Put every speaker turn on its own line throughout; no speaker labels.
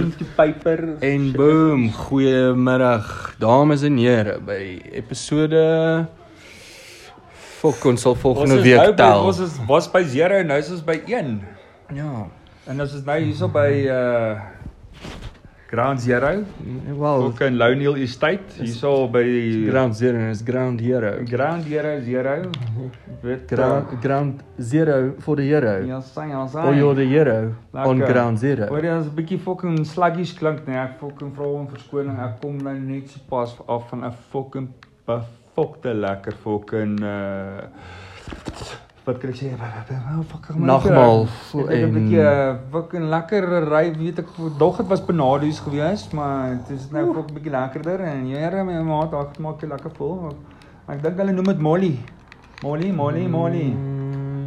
into paper.
En boom, goeiemiddag dames en here by episode Fok ons sal volgende
is nou
week
by-
tel.
Ons is was by 0 en nou is ons by 1.
Ja.
En ons is nou hierso by uh Ground Zero,
Wel,
ook in Louniel Estate, hierso by
ground zero en is ground hero.
Ground Zero Zero. Weet
Ground ground zero for the hero.
Ja, sien, ja, sien.
Or you're the hero on
Lekker.
ground zero.
Hoor jy, ons 'n bietjie fucking sluggish klink, nee. Ek fucking vra om verskoning. Ek kom nou net so pas af van 'n fucking befokte lekker fucking uh wat kan ek sê? Oh, fucking man,
Nagmaal
Ek het 'n
en-
bietjie uh, fucking lekker ry, weet ek dog dit was Benadu's gewees, maar dit is nou ook 'n bietjie lekkerder en jare my maat, ag, maak jy lekker vol. maar Ek dink hulle noem dit Molly. Molly,
Mm.
Molly, Molly.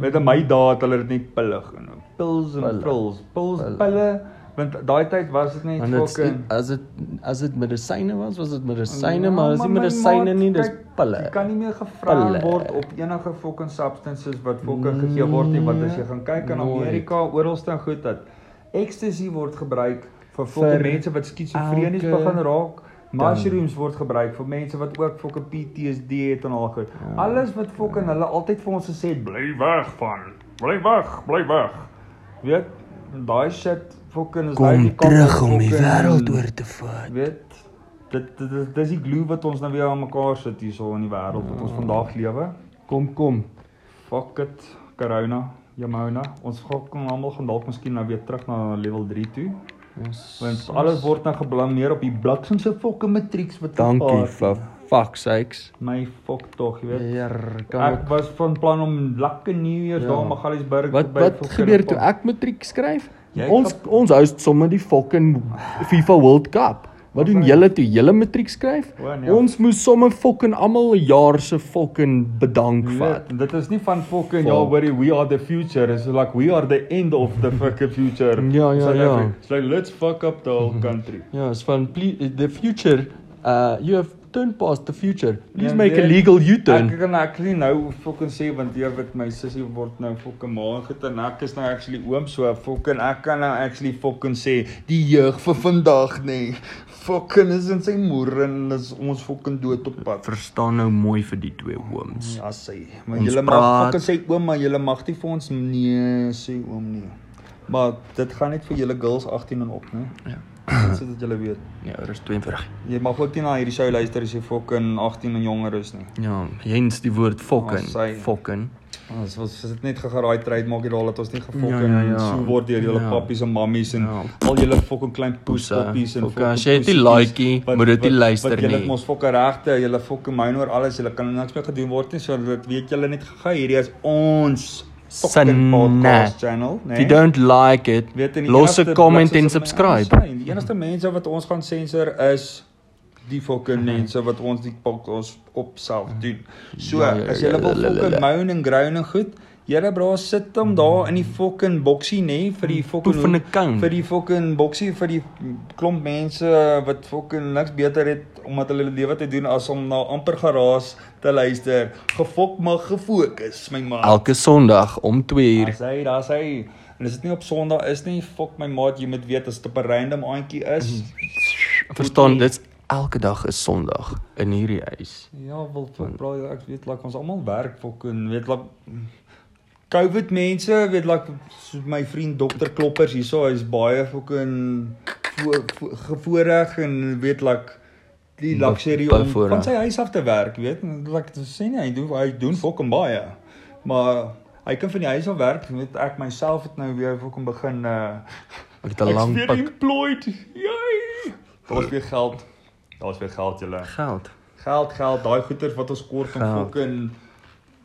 Met in my dae het hulle dit net pillig genoem. Pils en
Pille.
pils, pils,
Pille.
pille, want daai tyd was dit net
Want dit
fucking Ja,
as dit as dit medisyne was, was dit medisyne, maar dis nie medisyne nie, dis
Jy
pille.
kan nie meer gevra
Pille.
word op enige fucking substances wat fucking gegee word nie, want as jy gaan kyk in
Nooit.
Amerika, oralste en goed dat ecstasy word gebruik vir fucking
Vir
mense wat skizofrenies
elke
begin raak. Mushrooms word gebruik vir mense wat ook fucking PTSD het en al goed.
Ja.
Alles wat fucking hulle altyd vir ons gesê het, bly weg van. Bly weg, bly weg. Weet, daai shit fucking is nou die kant wat fucking-
te vat.
weet dit dit dit- dis die glue wat ons nou weer aan mekaar sit hierso in die wêreld wat ons
Mm.
vandag lewe.
Kom kom.
Fuck it, corona, jamona. Ons gaan kom almal gaan dalk miskien nou weer terug na level 3 toe.
Ons
Want alles word nou geblameer op die bliksem se fucking matrieks wat
Dankie
gepaard.
vir fuck sakes.
my fok tog, jy weet.
Heer, kan
Ek was van plan om lekker New Year's
Ja.
ja. daar in Magaliesberg
Wat wat gebeur toe ek matriek skryf?
Jy
ons
kap-
ons host sommer die fucking FIFA World Cup. Wat doen julle toe julle matriek skryf?
O, nee.
Ons moes sommer fucking almal 'n jaar se fucking bedank vat.
Dit is nie van fucking
Fuck.
ja, worry we are the future. It's like we are the end of the fucking future.
Ja, ja,
South
ja.
Africa. It's like let's fuck up the whole country.
Ja, is van "Please, the future uh you have turned past the future. Please
Ja,
make a
nee.
legal U-turn.
Ek kan ek nie nou fucking sê want jy weet my sussie word nou fucking ma en goed en ek is nou actually oom so fucking ek kan nou actually fucking sê die jeug vir vandag nê. Fucking is in sy moer en is ons fucking dood op pad.
Verstaan nou mooi vir die twee ooms.
Ja, sê. Maar
Ons
julle mag
praat.
fucking sê oom, maar julle mag nie vir ons nee sê oom nie. Maar dit gaan net vir julle girls 18 en op, né?
Ja.
Net Sodat julle weet.
Ja, rus 42.
Jy mag ook nie na hierdie show luister as jy fucking 18 en jonger is nie.
Ja, hens die woord fucking,
Ah, sy-
fucking.
Ons was is Ah, dit net gegeraai trade maak hier daar dat ons nie gefokken
Ja,
ja,
ja,
ja,
ja.
so word deur julle
Ja.
ja. pappies en mammies en
Ja.
ja. al julle fucking klein poespoppies en
Fokke, as jy dit nie like nie,
wat-
moet dit nie
wat-
luister
Wat julle
nie.
het mos fucking regte, julle fucking minor alles, julle kan niks meer gedoen word nie, so dit weet julle net gaga hierdie is ons
Sinne.
fucking podcast channel,
If you
né?
don't like it,
Nee. Weet en die
los 'n
enigste
comment
blikse
en
se-
subscribe.
Nee, Die enigste mense wat ons gaan sensor is die fucking
Mhm.
mense wat ons die pak ons op self doen. So,
Ja, ja,
as jy
ja,
wil
ja, ja, ja. Mhm.
fucking moan en groan en goed, jare bra sit hom daar in die fucking boksie nê nee, vir die
Poef van
fucking
'n king.
vir die fucking boksie vir die klomp mense wat fucking niks beter het omdat hulle hulle lewe te doen as om na amper geraas te luister. Gefok maar gefokus, my man.
Elke Sondag om 2uur.
Daar's hy, daar's hy. En as dit nie op Sondag is nie, fok my maat, jy moet weet as dit op 'n random aandjie is.
Verstaan, dit's elke dag is Sondag in hierdie huis.
Ja, wil fok bra, ek weet like ons almal werk fok en weet like COVID mense, weet like soos my vriend dokter Kloppers hierso, hy's baie fok en gevoorreg en weet like die luxury om
bevoorreg.
van sy huis af te werk, weet. En, Like dit sê nie hy doen hy doen fok en baie. Maar hy kan van die huis af werk, weet ek myself het nou weer fok en begin uh
Ek het 'n lang
Ek's weer
pak
employed. Jy. Daar's weer geld. Daar's weer geld julle.
geld.
Geld, geld, daai goeder wat ons kort en
Geld.
fucking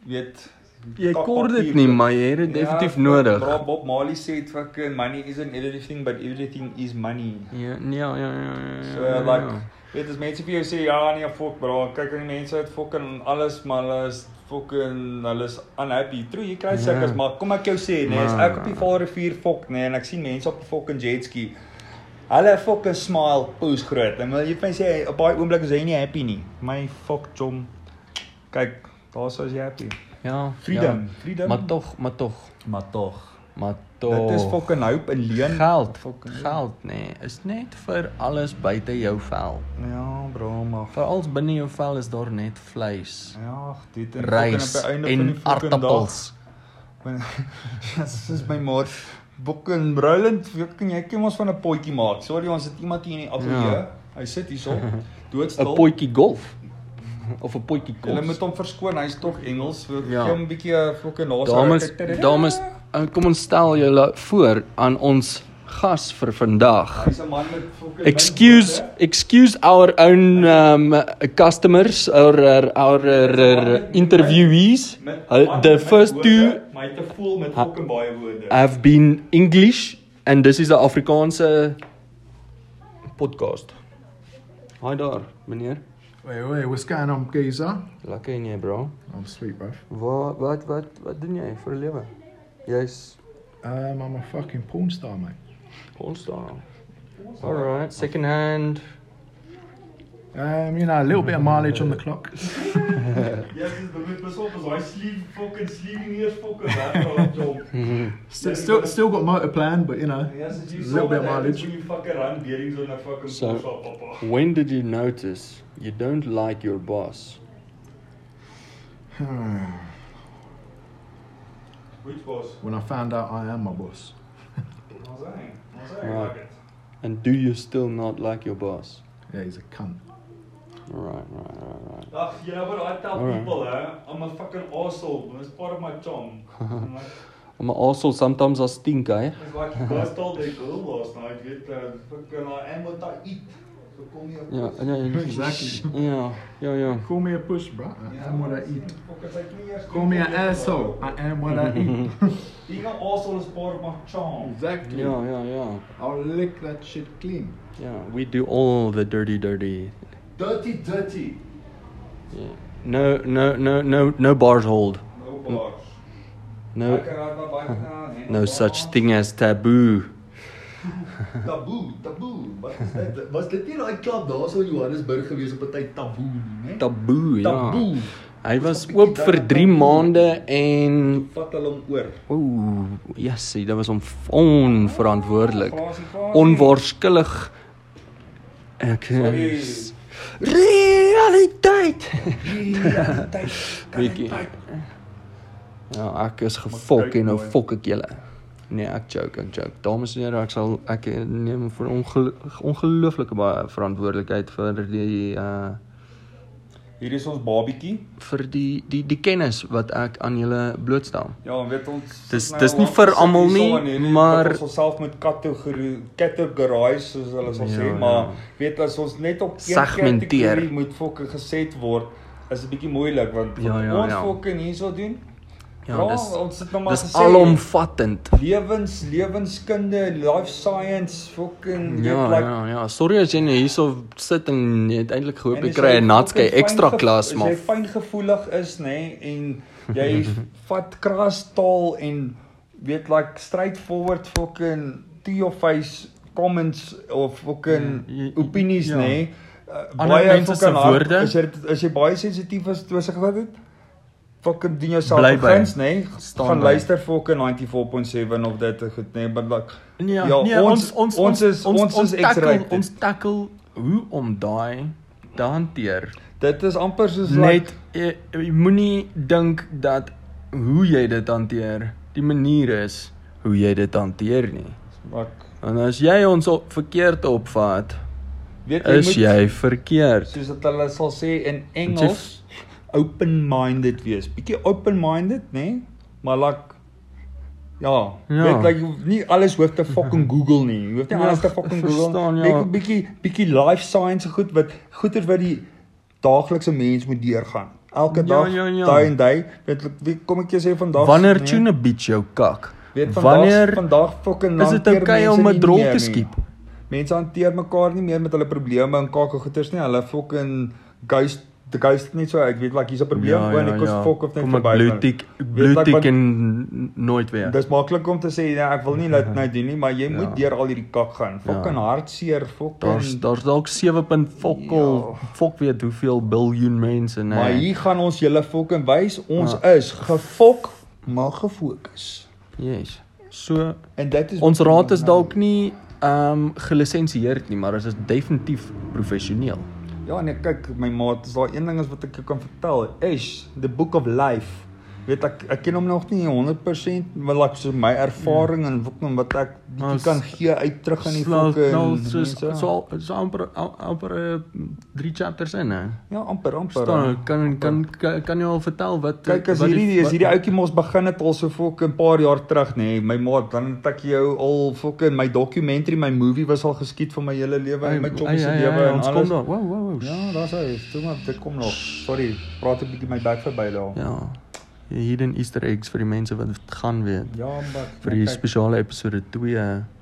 weet
Jy
ka-
kort dit
papier-
nie, maar jy het dit definitief
Ja,
nodig.
Bro, Bob Marley sê it fucking money isn't everything but everything is money.
Ja, ja, ja, ja. ja,
So
ja,
like
ja.
weet as mense vir jou sê ja nee fok bro, kyk aan die mense uit fucking alles maar hulle is fucking hulle is unhappy. True, jy kry sukkers, maar kom ek jou sê nee, as
Ja. Maar-
ek op die Vaalrivier fok nee en ek sien mense op 'n fucking jet ski. Hulle fucking smile poes groot. En wil jy vir my sê op daai oomblik is jy nie happy nie. My fok chom. Kyk, daar sou jy happy.
ja,
Freedom,
ja.
freedom.
Maar tog, maar tog.
Maar tog.
Maar
Dit
tog.
is fucking hope en leen.
geld.
Fucking-
Geld nê, nee, is net vir alles buite jou vel.
Ja, bro, maar
Vir alles binne jou vel is daar net vleis,
ja, dit en
rys
fucking op die einde van
en
die fucking dag-
aartappels.
Want Jesus my maat Bokke en Roland, fucking jy kom ons van 'n potjie maak. Sorry, ons het iemand hier in die ateljee.
Ja.
Hy sit hierso,
'n
doodstil.
potjie golf of 'n potjie
Hulle moet
kos.
hom verskoon, hy's tog Engels. So
Ja.
ja. gee hom 'n bietjie eh, fucking laaste.
Dames, dames, eh, kom ons stel julle voor aan ons gas vir vandag.
Hy's 'n man met fucking
Excuse excuse our own um customers or our, our, our interviewees.
Met-
Uh, the
met
first
woorde,
two Ah.
maar hy het 'n vol met fucking baie woorde.
have been English and this is 'n Afrikaanse podcast. Hi daar, meneer.
Wait, wait, what's going on, geezer?
Lekker en jy, bro?
I'm sweet, bruv.
Wat wat wat wat doen jy vir 'n lewe? Jy's
Um, I'm a fucking porn star, mate.
pornstar. All right, second hand.
Um, you know, a little bit of mileage on the clock.
Jy is bewus pas op as hy sleeve fucking sleeve nie eers fucking werk op.
Still, still, still got motor plan, but you know,
Yes, as
a
you
little
saw
bit of
that happens
mileage.
when you fucking run bearings on a fucking
So-
Porsche, papa.
When did you notice you don't like your boss?
Which was?
When I found out I am my boss,
I was saying. I was
Right. And do you still not like your boss?
yeah, he's a cunt.
Right, right, right, right.
Ugh, you know what I tell
Alright.
people, eh? I'm a fucking arsehole. It's part of my charm. I'm like,
I'm also sometimes I stink, eh?
it's like you guys told that girl last night, you uh, fucking, I am what I eat. So call me a
Yeah,
puss.
yeah, yeah.
Exactly.
Yeah, yeah, yeah.
Call me a push, bro. I am what I eat.
Fucking take me as-
Call me an asshole. I am what I eat.
Being an arsehole is part of my charm.
exactly.
Yeah, yeah, yeah.
I'll lick that shit clean.
Yeah, we do all the dirty, dirty.
Dirty, dirty.
Yeah. No, no, no, no, no bars hold.
No bars. I
No,
can ride my bike now, and
no such
bars.
thing as taboo.
Taboe, taboe. Wat is dit? Was dit nie daai klap daarso in Johannesburg gewees op 'n tyd taboe nie, né?
Taboe, ja.
Taboe.
Hy was oop vir 3 maande en
Vat hulle hom oor.
ooh, jessie, dit was on onverantwoordelik.
Glasie, glasie.
Onwaarskillig. Ek
Sorry.
realiteit. Bietjie. Ja, ek is gefok en nou fok ek julle. Nee, ek joke, ek joke. Dames en here, ek sal ek eh, neem vir ongel ongelooflike baie verantwoordelikheid vir die uh
Hier is ons babietjie.
vir die die die kennis wat ek aan julle blootstel.
Ja, en weet ons
Dis-
sit nou
dis nie
al
vir
lang
almal
gesit hier
nie,
so in hierdie-
maar-
dat ons onsself moet kategorie kategorise soos hulle sal
Ja,
sê,
ja.
maar weet as ons net op een
Segmenteer.
kategorie moet fokke geset word, is 'n bietjie moeilik want
Ja,
wat
ja,
ons
ja.
fokke hierso doen.
Ja,
bra,
dis-
ons sit nou maar
Dis
gesê
alomvattend.
lewens, lewenskunde, life science, fucking
Ja,
weet, like,
ja, ja. Sorry as jy nou hierso sit en jy het eintlik gehoop
En
jy
as
kry 'n natskei
fucking
ekstra
fyngevo-
klas, maar
As jy fyngevoelig is, nê, nee, en jy vat kras taal en weet like straightforward fucking to your face comments of fucking
Ja, jy-
opinies,
ja.
nê. Nee, uh,
Ander
baie
mense se
fucking hard-
woorde.
As jy as jy baie sensitief is, toe sê wat dit fucking doen jouself
Bly by.
begins, nê. Nee,
Staan
gaan
by.
luister fucking 94.7 of dit goed, nê, nee, but like
Ja,
Ja,
nee,
ons-
ons ons
ons is- ons is
tackle-
X-rated.
Ons tackle hoe om daai te hanteer.
dit is amper soos like
Net jy, jy moenie dink dat hoe jy dit hanteer die manier is hoe jy dit hanteer nie.
like
En as jy ons op verkeerd opvat,
weet jy
is
moet
jy verkeerd.
soos wat hulle sal sê in
jy
Engels open-minded wees. Bietjie open-minded, nê? Nee? Maar like ja,
Ja.
ja. weet like jy hoef nie alles hoef te fucking Google nie. Jy hoef nie
Ja,
alles te fucking Google.
verstaan, ja.
Net 'n bietjie bietjie life science goed wat goeie wat die daaglikse mens moet deurgaan. Elke
Ja,
dag,
ja, ja.
day en day, weet like, wie kom ek jou sê vandag?
Wanneer
nee,
tune 'n bietjie jou kak?
weet vandag
wanneer
vandag fucking
is dit
hanteer
oukei
mense
om 'n
nie
drol
meer
te
nie.
skiep?
Mense hanteer mekaar nie meer met hulle probleme en kake goeters nie. Hulle fucking geist die geist het net so ek weet like hier's 'n probleem ja, en ek kos fok of net
Kom ek
verby.
Blue tick, blue tick en nooit weer.
Dis maklik om te sê ja, ek wil nie dit nou doen nie, maar jy
Ja.
ja. moet deur al hierdie kak gaan. Fucking ja. hartseer,
Daar's
fucking
daar's dalk 7. fokkel,
Ja.
fok weet hoeveel biljoen mense nee. nê.
Maar hier gaan ons
Ja.
julle fucking wys ons is gefok maar gefokus.
Yes. So
And that is nou-
ons raad is dalk nie ehm um, gelisensieerd nie, maar dit is definitief professioneel.
Ja, nee, kyk, my maat, is daar een ding is wat ek jou kan vertel. Ash, the book of life. Weet ek ek ken hom nog nie 100% wil ek so my ervaring
Ja.
en wat en wat ek
Maar
bietjie kan
s-
gee uit terug aan die
Sla-
fokke.
nou, so is- so al- so amper al- amper eh, drie chapters in hè.
ja, amper amper.
Staan kan kan kan- kan jy al vertel wat
Kyk as
wat die-
hierdie is
wat-
hierdie ouetjie mos begin het al so fokke 'n paar jaar terug nê. Nee, my maat, dan het ek jou al fokke my documentary, my movie was al geskiet vir my hele lewe
Ai,
en my
ai,
choppie se
ai, ai,
lewe en
ja, Ons kom
alles.
daar. Wow, wow, wow.
Ja, daar's hy. Toe maar, dit kom nog. Sorry, praat 'n bietjie my bek verby daar.
Ja. Hidden Easter eggs vir die mense wat dit gaan weet.
Ja, maar
Vir die
kyk,
spesiale episode 2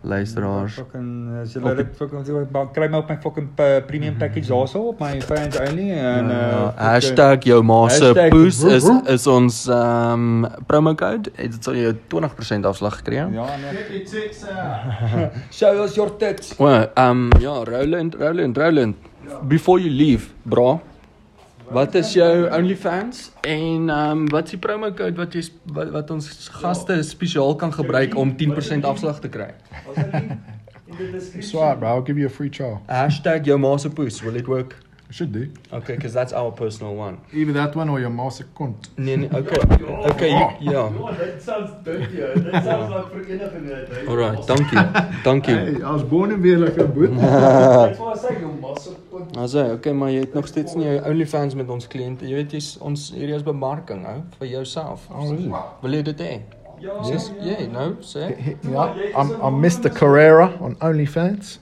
luisteraars.
Fucking as
Op
julle
die-
dit fucking maar kry my op my fucking pe- premium package daarso op my fans only en
Ja,
eh,
Hashtag jou ma se
Hashtag-
poes is is ons ehm um, promo code. Dit sal jou 20% afslag gekry.
fucking-
Ja.
Ja, nee.
Check it, check it.
Show us your tits. Ja.
O, ehm um, ja, Roland, Roland, Roland. Before you leave, bra. Wat is jou OnlyFans en ehm um, wat is die promo code wat jy sp- wat, wat ons
Ja.
gaste spesiaal kan gebruik om 10% afslag te kry?
Ons het in die description.
Swat, bro. I'll give you a free trial.
Hashtag jou ma se poes. Will it work?
Should do.
Okay, because that's our personal one.
Either that one or your mouse a cunt.
Nee, nee, okay. Okay, you, ja.
Ja, dit sounds dirty. ou. Dit sounds like vereniging.
Alright, dankie. Dankie.
I was born in weer like a boot.
Ek wou sê jou massa kon
Also, okay, maar jy het nog steeds nie jou OnlyFans met ons kliënte. Jy weet jy's ons hierdie is bemarking, ou, vir jouself.
Oh, is it?
Wil jy dit hê?
Ja,
Yes, yeah, no, sê.
Yeah, I'm, I'm Mr. Carrera on OnlyFans.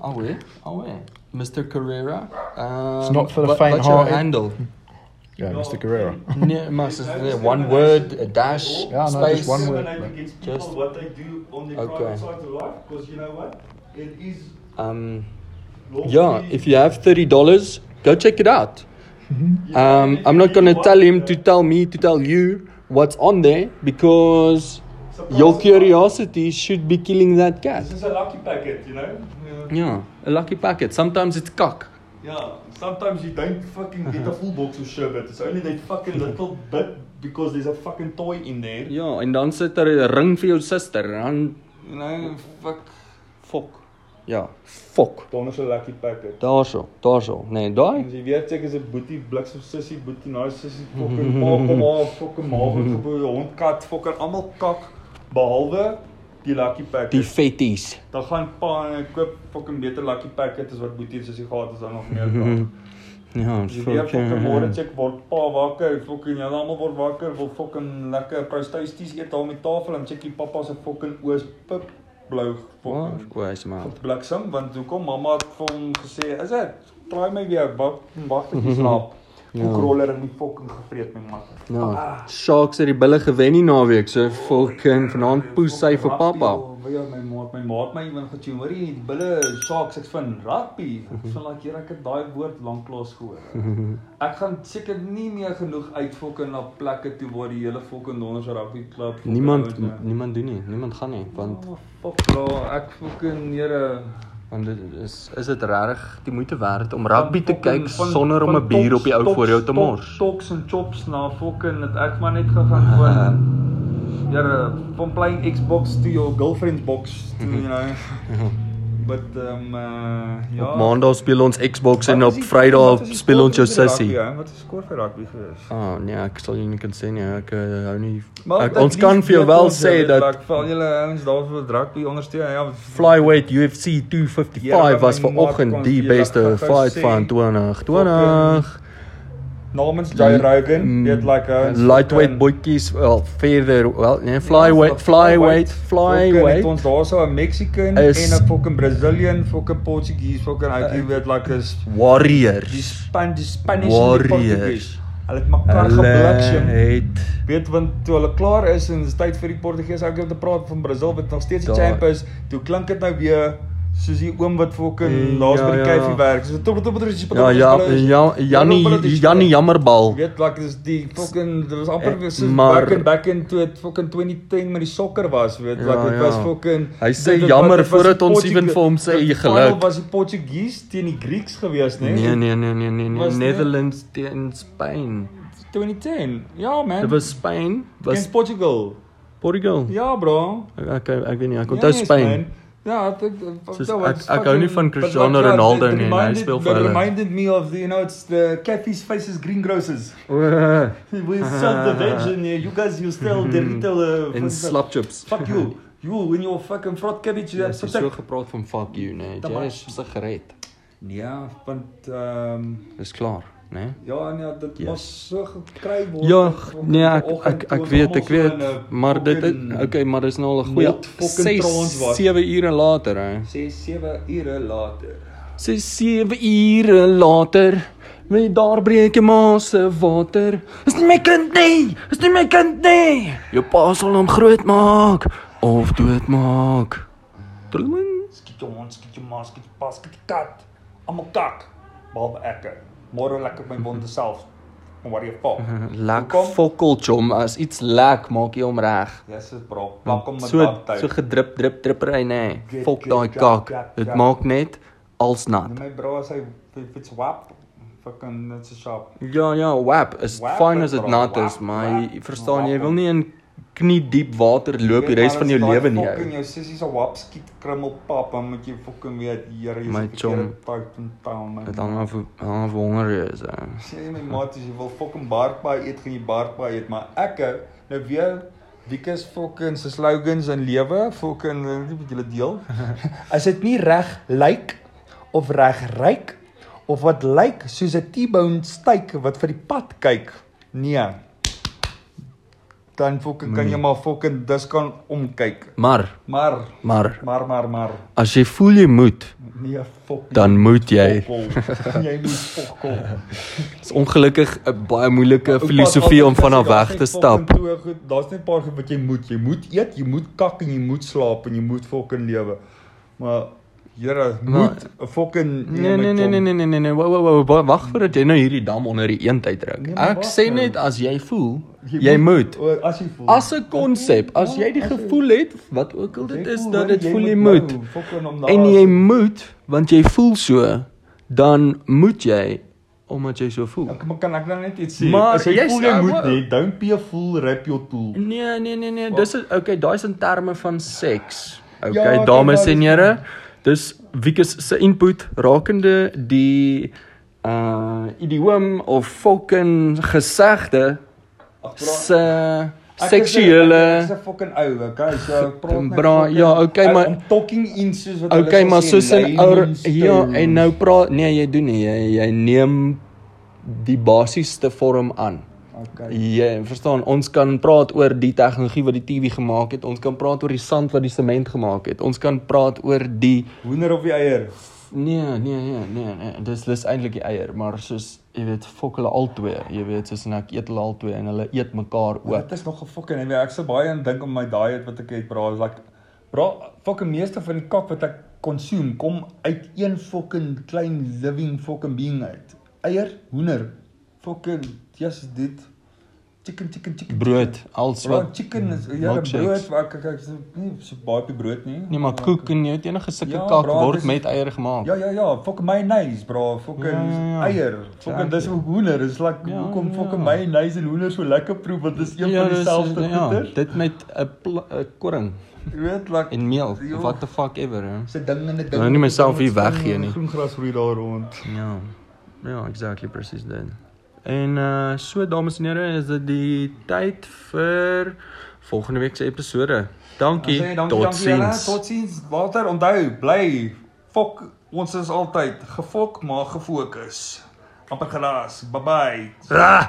Awe, awe. Mr Carrera. Um,
It's not for the
what- what's your
faint-hearted.
handle?
Yeah, Mr. Carrera.
Nee, maar is dit one word, a dash,
Yeah,
no, just
space?
one word.
discriminate against people
Just-
what they do on their
Okay.
private side of life because you know what? It is
Um
lawfully-
Yeah, if you have thirty dollars, go check it out. Um, I'm not gonna tell him to tell me to tell you what's on there because your curiosity should be killing that
This
cat.
is a lucky packet, you know? Yeah.
Yeah, a lucky packet. Sometimes it's cock.
Yeah, sometimes you don't fucking get a full box of sherbet. It's only that fucking little bit because there's a fucking toy in there.
Ja, en dan sit daar 'n ring vir jou suster en dan you know, fuck fok. Ja, fok.
Donder's a lucky packet.
Daarso, daarso. Nee, daai.
En jy weet ek is 'n boetie bliksem sissie boetie nou sissie fucking pa kom haar fucking maag het gebou hond kat fucking almal kak behalwe die lucky packet.
Die fetties.
Dan gaan pa en hy koop fucking beter lucky packet as wat boetie en sissie gehad het dan nog meer kan.
Ja,
Jy weet fucking môre
fuck.
check word pa wakker, fucking julle almal word wakker, wil fucking lekker prostasties eet daar met tafel en check die pappa se fucking oos pip blou
Waar
fucking
kwaai maar.
bliksem want hoekom mamma het vir hom gesê is dit try my weer wag wag
Mhm.
tot jy slaap koekroller in die fucking gevreet my man
Ja, Sharks het die bulle gewen die naweek, so fucking vanaand poes sy vir pappa.
ja my maat my maat my iemand getune hoor jy die bulle sharks ek van rugby
Mhm.
ek van laat hier ek het daai woord lanklaas gehoor ek gaan seker nie meer genoeg uit fucking na plekke toe waar die hele fucking donders rugby klub fucking
Niemand
ouens, eh,
niemand doen nie, niemand gaan nie, want
oh, fuck bro ek fucking here
want dit is is dit regtig die moeite werd om rugby te
van
kyk
fucking-
sonder om
van
'n bier
tops,
op die ou
tops,
voor jou te
tops,
mors.
Tops en chops na fucking dat ek maar net gegaan voor.
Ah.
Ja, from playing Xbox to your girlfriend's box to you know. But um uh ja.
Op Maandag speel ons Xbox
Wat
en
is
op
die- wat
Vrydag
is die
speel ons jou
score vir die
sussie.
rugby, hè? Wat is die skoor vir rugby gewees?
Ah oh, nee, ek sal jou nie kan sê nie, ek eh, hou nie.
Maar
Ek,
dat
ons
nie
kan vir jou
weet
wel
ons,
sê
weet,
dat
like, val julle ouens daar vir rugby ondersteun. Ja,
Flyweight UFC
Here,
255
wat
was
my maat kon
vanoggend die
hier
beste
dag gou
fight
sê,
van 2020.
namens Jay Rogan, weet like uh,
Mm. lightweight boetjies wel verder wel nee
Ja,
flyweight flyweight
Het
flyweight
ons daarso 'n Mexican
Is- Eh,
en 'n fucking Brazilian, fucking Portuguese, fucking uit hier weet like is die
warriors
span die Spanish en die
Warriors.
Portuguese. Hulle het mekaar
hulle
gebliksim.
het
Weet want toe hulle klaar is en dit is tyd vir die Portugese ou om te praat van Brazil wat nog steeds die
Daar.
champ is, toe klink dit nou weer soos die oom wat fucking
Eh,
laas by
ja,
die
ja.
kuifie werk. So top top top.
ja ja ja Jannie Jannie jammerbal
Weet like dis die fucking dit was amper
Eh,
weer soos
maar-
back in back in toe dit fucking 2010 met die sokker was, weet
Ja,
like dit
ja.
was fucking
Hy sê
dit- dit-
jammer
dit was
voordat
die
ons ewen
Portugu-
vir hom sê,
die
jy
final
geluk.
was die Portuguese teen die Greeks gewees, né?
nee nee nee nee nee, nee
Was nie-
Netherlands teen Spanje
2010. Ja man.
dit was Spanje was
teen Portugal.
Portugal.
Ja, bro.
Ek ek, ek weet nie, ek onthou Spanje.
Ja, ek ek
Soos ek- ek hou nie van Cristiano
ja,
Ronaldo nie, hy speel vir
It
hulle.
reminded me of the, you know, it's the Catfish Faces Greengrocers. We sell the veg and uh, you guys you sell the retail uh,
En slapchips.
fuck you. You in your fucking frog cabbage
Jy
ja,
yeah,
het Ja, so gepraat van fuck you, né?
Dan
Jy
maar-
is sigaret.
Ja, want ehm um,
Dis klaar, né?
ja, nee, dit
Yes.
was so gekry word.
Ja,
op- op
nee,
die
ek
oggend
ek
toe
ek
ons
weet,
almal so
ek weet,
in
eh,
'n
maar dit
fucking
okay, maar dis nou al 'n goeie
Mot fucking trance
6
was.
7 ure later, hè.
6 7 ure later.
6 7 ure later. Met daar breek jy ma se water. Is nie my kind nie. Is nie my kind nie. Jou pa sal hom grootmaak of doodmaak. Tling.
Skiet jou hond, skiet jou ma, skiet jou pa, skiet die kat. Almal kak. Behalwe ek. eh, Môre lek ek my wonde self. "Nou Don't worry about it.
Lek
Hoekom?
fokkelchom as iets lek maak jy hom reg.
Yes, is bro. Plak hom met
Ja, So
duct tape.
so gedrup drup drippery nê.
Drip,
Fok
drip,
daai
drap,
kak.
drap,
Dit
drap.
maak net als nat.
Nou My bro as hy if it's wap fucking that's a shop.
Ja ja, wap is
Wap
fyn
is
as dit
bra,
nat
wap,
is, maar jy
wap,
verstaan jy
wap.
wil nie in knie diep water loop die res van jou lewe nie.
Fucking jou sussie se wap skiet krummel pap dan moet jy fucking weet hier is
My
tight in town man.
Dit hang af hoe- hang af hoe honger jy is. hè.
Sê jy my maat as jy wil fucking barkbaai eet gaan jy barkbaai eet maar ek nou weer Wikus fucking se slogans in lewe fucking eh, wat julle deel.
As dit nie reg lyk of reg ryk of wat lyk soos 'n T-bone steak wat vir die pad kyk.
Nee. Dan fucking kan
Nee.
jy maar fucking dis kan omkyk.
Maar
Maar
maar
maar maar maar
as jy voel jy moet,
nee fuck
dan moet jy.
Fokol. Jy moet fokol.
Dis ongelukkig 'n baie moeilike filosofie om van haar weg te stap.
Daar's net 'n paar goed wat jy moet. Jy moet eet, jy moet kak en jy moet slaap en jy moet fucking lewe. Maar Here,
Maar-
moet 'n fucking
Nee nee nee nee nee nee nee nee wag wag wag wag voordat jy nou hierdie dam onder die eendheid druk.
Nee, maar
Ek
wag
sê
nou.
net as jy voel jy moet
O, As jy voel.
as 'n konsep as jy die gevoel het wat ook al dit is dat dit voel jy moet
nou fucking om daar-
en jy moet want jy voel so dan moet jy omdat jy so voel.
Ek maar kan ek nou net iets sê.
Maar
as jy
jy
voel
sê-
jy moet
maar-
nie, don't be a fool, rap your tool.
Nee nee nee nee dis is- okay daai's in terme van seks. Okay
Ja,
ja,
ok,
dames
daar
en
is-
here dis Wikus se input rakende die uh idioom of fucking gesegde
Ag, bra-
se
Ek is 'n- ek is
seksuele
'n fucking ou, okay? So ek praat net
Bra,
fucking-
ja, okay,
Ek-
maar-
I'm talking in soos wat
Okay, maar soos 'n ouer ja, en
nou
nou praat nee, jy doen nie, jy jy neem die basiesste vorm aan.
Okay.
Jy Ja, verstaan, ons kan praat oor die tegnologie wat die TV gemaak het, ons kan praat oor die sand wat die sement gemaak het. Ons kan praat oor die
Hoender of die eier?
nee, nee, nee, nee, nee dis dis eintlik die eier, maar soos jy weet, fok hulle albei. Jy weet, soos en ek eet hulle albei en hulle eet mekaar
Dit
ook.
is nog 'n fucking en ek se baie aan dink om my diet wat ek het, bra, is like bra, fucking meeste van die kak wat ek consume kom uit een fucking klein living fucking being uit. Eier, hoender, fucking yes dit chicken chicken chicken.
Brood, alles
Bro,
wat
chicken is ja,
milkshakes.
brood, maar ek ek, ek is nie so baie op die brood nie.
Nee, maar koek en jy weet enige sulke
Ja,
ja, kak
bra,
word
dis-
met eier gemaak.
Ja ja ja, fucking mayonnaise bro, fucking
Ja, ja, ja.
eier. Fucking dis 'n hoender, is like
Ja,
hoekom
ja.
fucking mayonnaise en hoender so lekker proe want dis een van
dis-
dieselfde
ja,
goeder.
dit met 'n pla- 'n korring
Jy weet like
en meel.
Jo.
What the fuck ever. Hè?
se ding en 'n ding.
Nou nie myself
Met
hier
groen-
weggee nie.
Groen gras groei daar rond.
Ja. Ja, exactly presies dit. En uh so dames en here, is dit die tyd vir volgende week se episode. Dankie.
Sê dankie
Tot
dankie julle.
sins.
Totsiens. Walter, onthou, bly fok ons is altyd gefok maar gefokus. Amper geraas. Bye bye.
Ah!